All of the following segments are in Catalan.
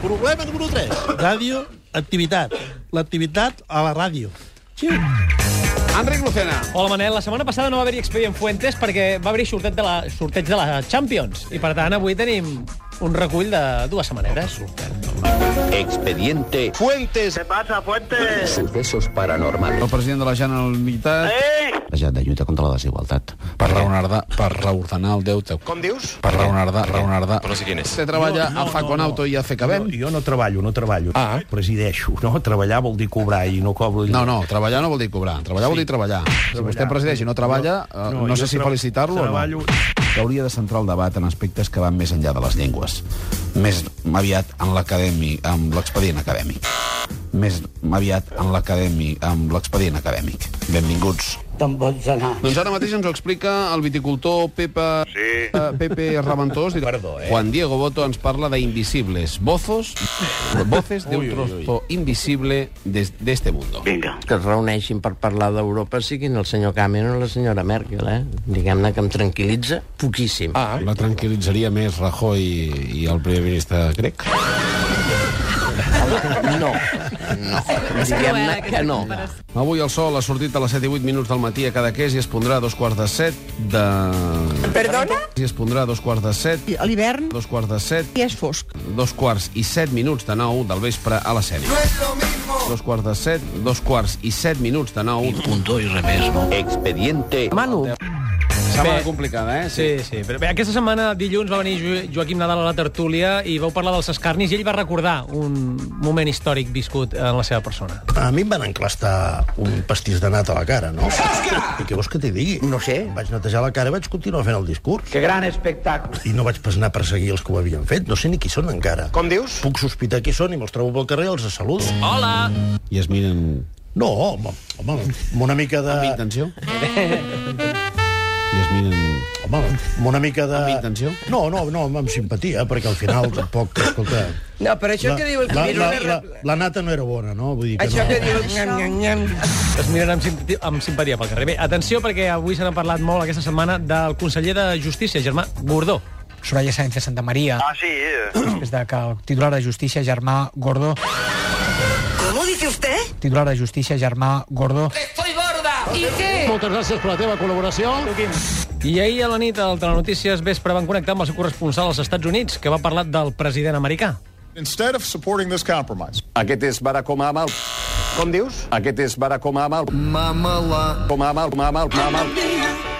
Problema número 3. Ràdio, activitat. L'activitat a la ràdio. Xiu. Enric Lucena. Hola, Manel. La setmana passada no va haver-hi Expedient Fuentes perquè va haver-hi sorteig, de la, sorteig de la Champions. I, per tant, avui tenim un recull de dues setmanetes. Expediente Fuentes. ¿Qué pasa, Fuentes? Sucesos Paranormales. El president de la Generalitat ¡Eh! La Generalitat lluita contra la desigualtat. per reordenar, per reordenar el deute. Com dius? Per reordenar, reordenar. No sé quién es. Vostè treballa no, no, a Facon no, Auto i a Jo, CKBM? jo no treballo, no treballo. Ah. Presideixo, no? Treballar vol dir cobrar i no cobro... No, no, treballar no vol dir cobrar. Treballar sí. vol dir treballar. Si vostè presideix i no treballa, no, no, no sé jo si tra- felicitar-lo treballo... o no. Que hauria de centrar el debat en aspectes que van més enllà de les llengües. Més aviat en l'acadèmic, amb l'expedient acadèmic. Més aviat en l'acadèmic, amb l'expedient acadèmic. Benvinguts. Te'n pots anar. Doncs ara mateix ens ho explica el viticultor Pepe, sí. Pepe Raventós. Perdó, eh? Juan Diego Boto ens parla d'invisibles bozos, voces de un trozo invisible des- d'este mundo. Venga. Que es reuneixin per parlar d'Europa siguin el senyor Cameron o la senyora Merkel, eh? Diguem-ne que em tranquil·litza poquíssim. Ah, la tranquil·litzaria més Rajoy i el primer ministre grec? No, no. Diguem-ne que no. Avui el sol ha sortit a les 7 i 8 minuts del matí a Cadaqués i es pondrà a dos quarts de set de... Perdona? I es pondrà a dos quarts de set, A l'hivern dos quarts de set, ja és fosc. dos quarts i set minuts de nou del vespre a la sèrie. Dos quarts de set, dos quarts i set minuts de nou. Punto i revés, no? Expediente Manu, Setmana complicada, eh? Sí, sí. Però bé, aquesta setmana, dilluns, va venir Jo- Joaquim Nadal a la tertúlia i vau parlar dels escarnis i ell va recordar un moment històric viscut en la seva persona. A mi em van enclastar un pastís de nata a la cara, no? I què vols que t'hi digui? No sé. Em Vaig netejar la cara i vaig continuar fent el discurs. ¡Qué gran espectáculo! I no vaig pas anar a perseguir els que ho havien fet. No sé ni qui són encara. Com dius? Puc sospitar qui són i me'ls trobo pel carrer i els saludo. Hola! I es miren... No, home, home amb una mica de... Amb intenció? I es miren... Home, amb una mica de... Amb intenció? No, no, no, amb simpatia, perquè al final tampoc, escolta... No, però això la, que diu el la, la, Camilo... la, la nata no era bona, no? Vull dir que Això no. que diu el Camilo... Es miren amb, simpati amb simpatia pel carrer. Bé, atenció, perquè avui se n'ha parlat molt aquesta setmana del conseller de Justícia, Germà Gordó. Soraya Sánchez Santa Maria. Ah, sí. Després de que el titular de Justícia, Germà Gordó... ¿Cómo dice usted? Titular de Justícia, Germà Gordó... I ahir a la nit, al Telenotícies Vespre, van connectar amb el seu corresponsal als Estats Units, que va parlar del president americà. Instead of supporting this compromise, Aquest és Barack Obama. Com dius? Aquest és Barack Obama. Mamala. Obama, Obama, Obama.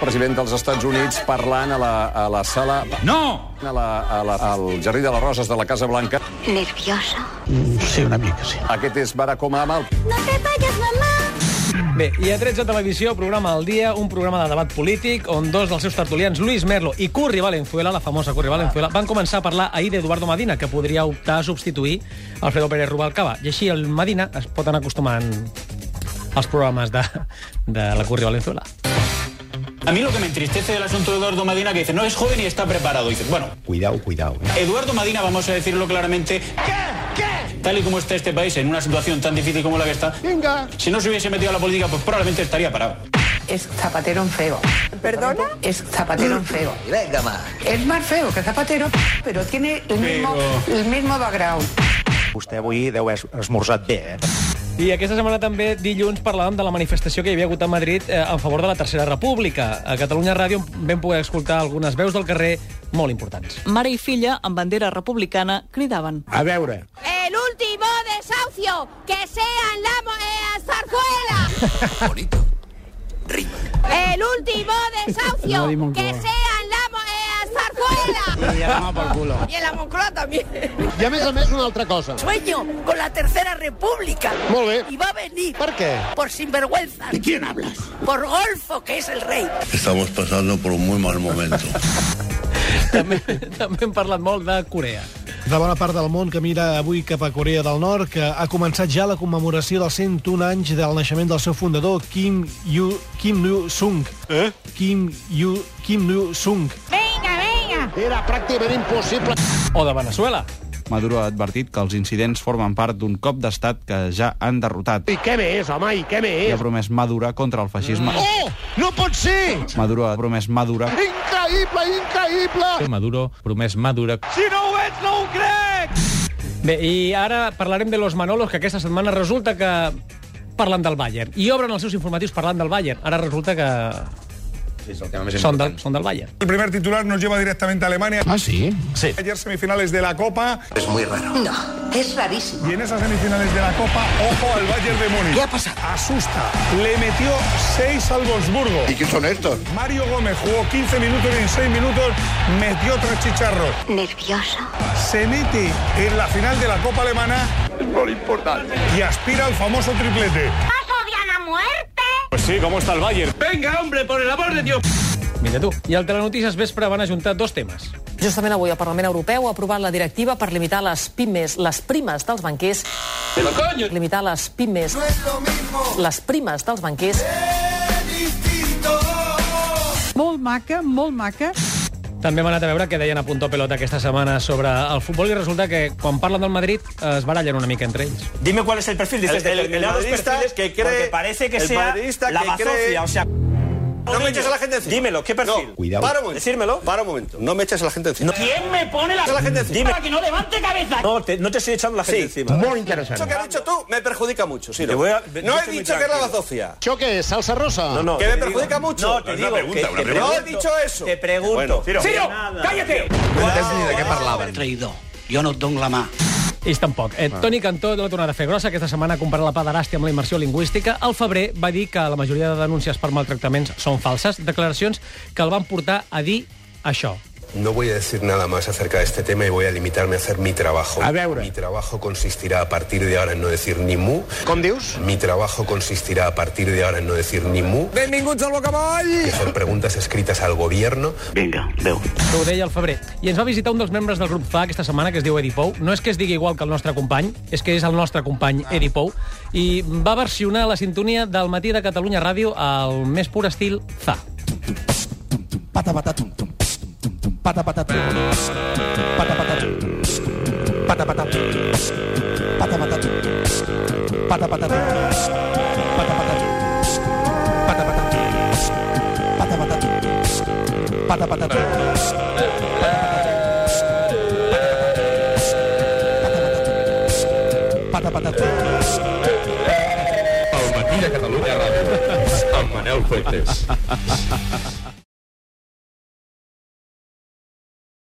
President dels Estats Units parlant a la, a la sala... No! A la, a la, al Jardí de les Roses de la Casa Blanca. Nerviosa. Aquest és Barack Obama. Bé, i a 13 Televisió, programa al dia, un programa de debat polític, on dos dels seus tertulians, Luis Merlo i Curri Valenzuela, la famosa Curri Valenzuela, van començar a parlar ahir d'Eduardo Medina, que podria optar a substituir Alfredo Pérez Rubalcaba. I així el Medina es pot anar acostumant als programes de, de la Curri Valenzuela. A mí lo que me entristece del asunto de Eduardo Madina que dice, no es joven y está preparado. Dices, bueno, Cuidao, cuidao. Eduardo Madina, vamos a decirlo claramente, tal y como está este país, en una situación tan difícil como la que está, si no se hubiese metido a la política, pues probablemente estaría parado. Es Zapatero en feo. ¿Perdona? Es Zapatero en feo. Venga, más. Es más feo que Zapatero, pero tiene el mismo, el mismo background. Vostè avui deu es- esmorzat bé, eh? I aquesta setmana també, dilluns, parlàvem de la manifestació que hi havia hagut a Madrid eh, en favor de la Tercera República. A Catalunya Ràdio vam poder escoltar algunes veus del carrer molt importants. Mare i filla, amb bandera republicana, cridaven. A veure. El último desahucio, que sea en la eh, El último desahucio, que sea en la zarzuela. Y a por culo. Y en la Moncloa también. I a més a més una altra cosa. Sueño con la Tercera República. Molt bé. Y va a venir Per què? por sinvergüenza, ¿De quién hablas? por Golfo, que es el rey. Estamos pasando por un muy mal momento. també, també hem parlat molt de Corea. De bona part del món que mira avui cap a Corea del Nord, que ha començat ja la commemoració dels 101 anys del naixement del seu fundador, Kim Yu Kim Yu Sung. Eh? Kim Yu Kim Yu Sung. Era pràcticament impossible. O de Venezuela. Maduro ha advertit que els incidents formen part d'un cop d'estat que ja han derrotat I què més, home, i què i ha més? promès madurar contra el feixisme. Oh! No pot ser! Maduro ha promès madurar. Increïble, increïble! Maduro promès madurar. Si no ho ets, no ho crec! Bé, i ara parlarem de los Manolos, que aquesta setmana resulta que parlen del Bayern. I obren els seus informatius parlant del Bayern. Ara resulta que Es el tema més són del, són del Bayern. El primer titular nos lleva directamente a Alemania. Ah, sí? Sí. Ayer semifinales de la Copa. Es muy raro. No, es rarísimo. Y en esas semifinales de la Copa, ojo al Bayern de Múnich. ¿Qué ha pasado? Asusta. Le metió 6 al Wolfsburgo. ¿Y qué son estos? Mario Gómez jugó 15 minutos y en 6 minutos metió tres chicharros. Nervioso. Se mete en la final de la Copa Alemana. Es por importante. Y aspira al famoso triplete. Pues sí, ¿cómo está el Bayern? Venga, hombre, por el amor de Dios. Mira tu. I al Telenotícies Vespre van ajuntar dos temes. Justament avui el Parlament Europeu ha aprovat la directiva per limitar les pimes, les primes dels banquers. Però coño! Limitar les pimes, les primes dels banquers. Molt maca, molt maca. També hem anat a veure què deien a Punto Pelota aquesta setmana sobre el futbol i resulta que quan parlen del Madrid es barallen una mica entre ells. Dime cuál es el perfil. Dices, El- el- el determinados madridista perfiles que cree- porque parece que el sea madridista la que bazofia, cree- o sea... No me eches a la gente encima. Dímelo, ¿qué perfil? Cuidado. Para un momento. Decírmelo. Para un momento. No me eches a la gente encima. ¿Quién me pone la, Echa la gente encima. para que no levante cabeza? No, te, no te estoy echando la gente encima. Muy interesante. Eso que has dicho tú me perjudica mucho, Siro. Te voy a- yo No he estoy muy dicho que era la tranquilo. bazofia. ¿Yo qué? ¿Salsa rosa? No, no, ¿Que te me digo- perjudica mucho? No, te digo que- que te No he pregunto- dicho eso. Te pregunto. Bueno, Ciro, Ciro, nada. cállate. No entens ni de què parlaven. Traïdor. Jo no et dono la mà. Ells tampoc. Eh, Ah. Toni Cantó l'ha tornat a fer grossa aquesta setmana comparant la pederàstia amb la immersió lingüística. Al febrer va dir que la majoria de denúncies per maltractaments són falses, declaracions que el van portar a dir això. No voy a decir nada más acerca de este tema y voy a limitarme a hacer mi trabajo. A veure. Mi trabajo consistirá a partir de ahora en no decir ni mu. Com dius? Mi trabajo consistirá a partir de ahora en no decir ni mu. Benvinguts al Bocavall! Y hacer preguntas escritas al gobierno. Venga, veo. que ho deia al febrer. I ens va visitar un dels membres del grup FA aquesta setmana, que es diu Edi Pou. No és que es digui igual que el nostre company, és que és el nostre company Edi Pou. I va versionar la sintonia del matí de Catalunya Ràdio al més pur estil FA. Pata, pata, tum, tum, tum, tum, pata, pata, tum, tum, pata, pata, tum, tum, pata, pata, tum, tum, pata, pata, tum, tum, pata, pata, tum, tum, pata, pata, tum, tum, pata, pata, tum, tum, pata, pata, tum, tum, pata, pata, tum, tum, pata, pata, tum, tum, pata, pata, tum, tum. El matí de Catalunya Ràdio, amb Manel Fuentes.